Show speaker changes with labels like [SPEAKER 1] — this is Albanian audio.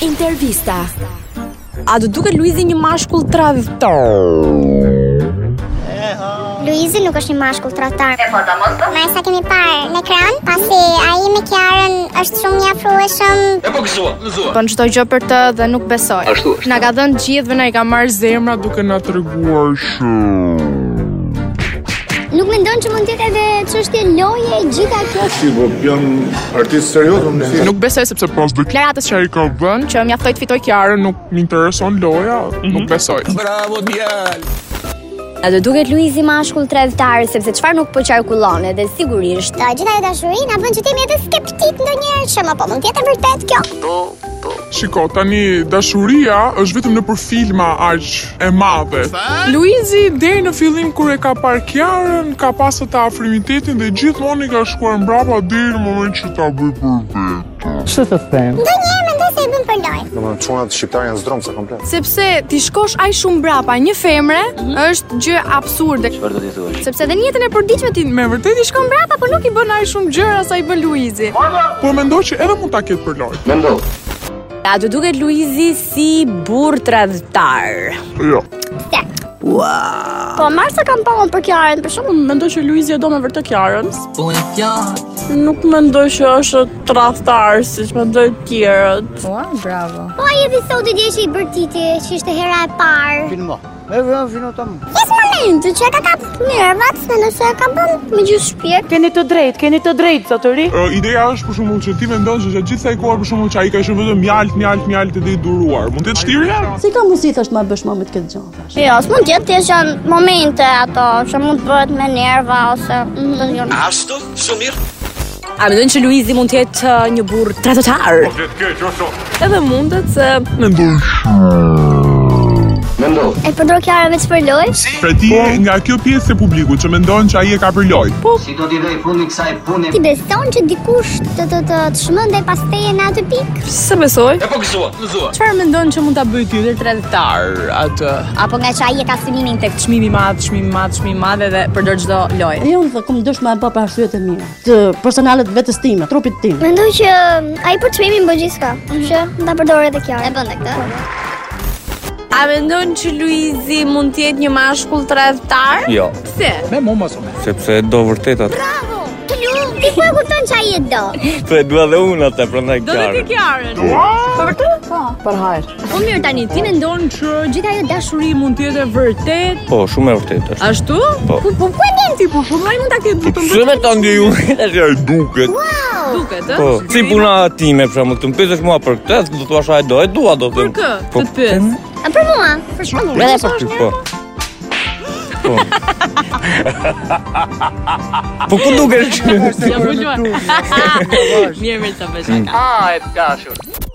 [SPEAKER 1] Intervista.
[SPEAKER 2] A do duket Luizi një mashkull tradhtor?
[SPEAKER 3] Luizi nuk është një mashkull trotar.
[SPEAKER 4] Po ta mos
[SPEAKER 3] Ne sa kemi parë në ekran, pasi ai me Kiarën është shumë i afrueshëm.
[SPEAKER 4] E po gëzua, gëzua.
[SPEAKER 5] bën çdo gjë për të dhe nuk besoj.
[SPEAKER 4] Ashtu është.
[SPEAKER 5] Na ka dhënë gjithëve, na i ka marrë zemra duke na treguar.
[SPEAKER 3] Nuk mendon që mund të jetë edhe çështje loje gjyka kjo.
[SPEAKER 6] Si, po jam artist serioz, unë si.
[SPEAKER 5] Nuk besoj sepse pas deklaratës që ai ka vënë që mjaftoi të fitoj Kiarën, nuk më intereson loja, nuk besoj.
[SPEAKER 4] Bravo djal.
[SPEAKER 2] A do duket Luizi mashkull tradhtor sepse çfarë nuk po qarkullon edhe sigurisht.
[SPEAKER 3] Të gjitha e dashurin, a bën që ti më jetë skeptik ndonjëherë që më po mund të jetë e vërtet kjo.
[SPEAKER 5] Shiko, tani dashuria është vetëm në për filma aq e madhe. Luizi deri në fillim kur e ka parë Kiarën, ka pasur të afrimitetin dhe gjithmonë i ka shkuar mbrapa deri në moment që ta bëj për vetë.
[SPEAKER 3] Ndonjëherë mendoj se e bën për lojë.
[SPEAKER 6] Domethënë çunat shqiptarë janë zdromë sa komplet.
[SPEAKER 7] sepse ti shkosh aq shumë brapa një femre
[SPEAKER 5] Mhm.
[SPEAKER 7] është gjë absurde. Çfarë do t'i thuash? Sepse edhe në jetën e përditshme ti me vërtetë i shkon brapa, por nuk i bën aq shumë gjëra sa i bën Luizi.
[SPEAKER 5] Po mendoj që edhe mund ta ketë për lojë.
[SPEAKER 2] A do duket Luizi si burr tradhtor?
[SPEAKER 5] Jo.
[SPEAKER 3] Po marrë kam pamon për Kiarën për shkakun.
[SPEAKER 8] Mendoj që Luizi e do me vërtet Kiarën. Po e Kiarën. Nuk mendoj që është tradhtar siç mendoj të tjerët.
[SPEAKER 5] Ua, bravo.
[SPEAKER 3] Po ai episodi dje që i bërtiti, që ishte hera e parë.
[SPEAKER 9] E vëm fino tam.
[SPEAKER 3] Jes momentin që e ka kap nervat, mendoj se e ka bën me gjithë shpirt.
[SPEAKER 8] Keni të drejtë, keni të drejtë zotëri.
[SPEAKER 5] Uh, ideja është për shembull që ti mendon se gjatë gjithë kësaj kohe për shembull që ai ka qenë vetëm mjalt, mjalt, mjalt dhe i duruar. Mund të jetë shtirja?
[SPEAKER 10] Si ka mundësi thosht ma bësh më me të këtë gjë? thash?
[SPEAKER 3] Jo, s'mund të jetë thjesht janë momente ato që mund të bëhet me nerva ose ndonjë.
[SPEAKER 4] Ashtu, shumë mirë.
[SPEAKER 2] A mendon që Luizi mund të jetë uh, një burr tradhtor?
[SPEAKER 7] Edhe mundet se
[SPEAKER 3] E përdor Kiara veç për lojë?
[SPEAKER 5] Pra ti nga kjo pjesë e publikut që mendon që ai e ka për lojë. Po,
[SPEAKER 3] Ti beson që dikush të të të, të shmëndej pas teje në atë pikë?
[SPEAKER 7] se besoj.
[SPEAKER 4] E po gëzua, gëzua.
[SPEAKER 7] Çfarë mendon që mund ta bëj tjetër tradhtor atë?
[SPEAKER 3] Apo nga që ai e ka synimin tek
[SPEAKER 7] Çmimi i madh, çmimi i madh, çmimi i madh edhe përdor çdo lojë.
[SPEAKER 10] E unë thë, kom dësh ma e bë për arsyet e mira, të personalet vetës time, trupit tim.
[SPEAKER 3] Mendoj që ai për çmimin bën gjithçka, që ta përdor edhe Kiara. Mhm. E bën këtë.
[SPEAKER 7] A mendon që Luizi mund të jetë një mashkull tradhtor?
[SPEAKER 11] Jo,
[SPEAKER 7] Pse?
[SPEAKER 11] sepse do vërtetat.
[SPEAKER 3] Bravo! Të lumë! Ti ku e kupton që ai e do?
[SPEAKER 11] Po e dua dhe unë atë, prandaj
[SPEAKER 7] Do të ti Kiarën.
[SPEAKER 1] Po mirë tani, ti mendon që gjithë ajo dashuri mund të jetë e vërtet?
[SPEAKER 11] Po, shumë e vërtetë është.
[SPEAKER 7] Ashtu?
[SPEAKER 11] Po.
[SPEAKER 7] Po po ku e din ti po shumë ai mund ta ketë butën.
[SPEAKER 11] Pse me ta ndjej unë tash ai duket?
[SPEAKER 7] Duket, ë?
[SPEAKER 11] Po, si puna time pra, më të mpyetësh mua për këtë, do të thua ai do, e dua do të. Po,
[SPEAKER 7] Për kë? Të të pyes.
[SPEAKER 3] A për mua? Për shembull.
[SPEAKER 11] Edhe për ty, po. Po. po ku dukesh?
[SPEAKER 7] Ja, po luaj. Mirë, mirë të bësh.
[SPEAKER 4] Ah, e dashur.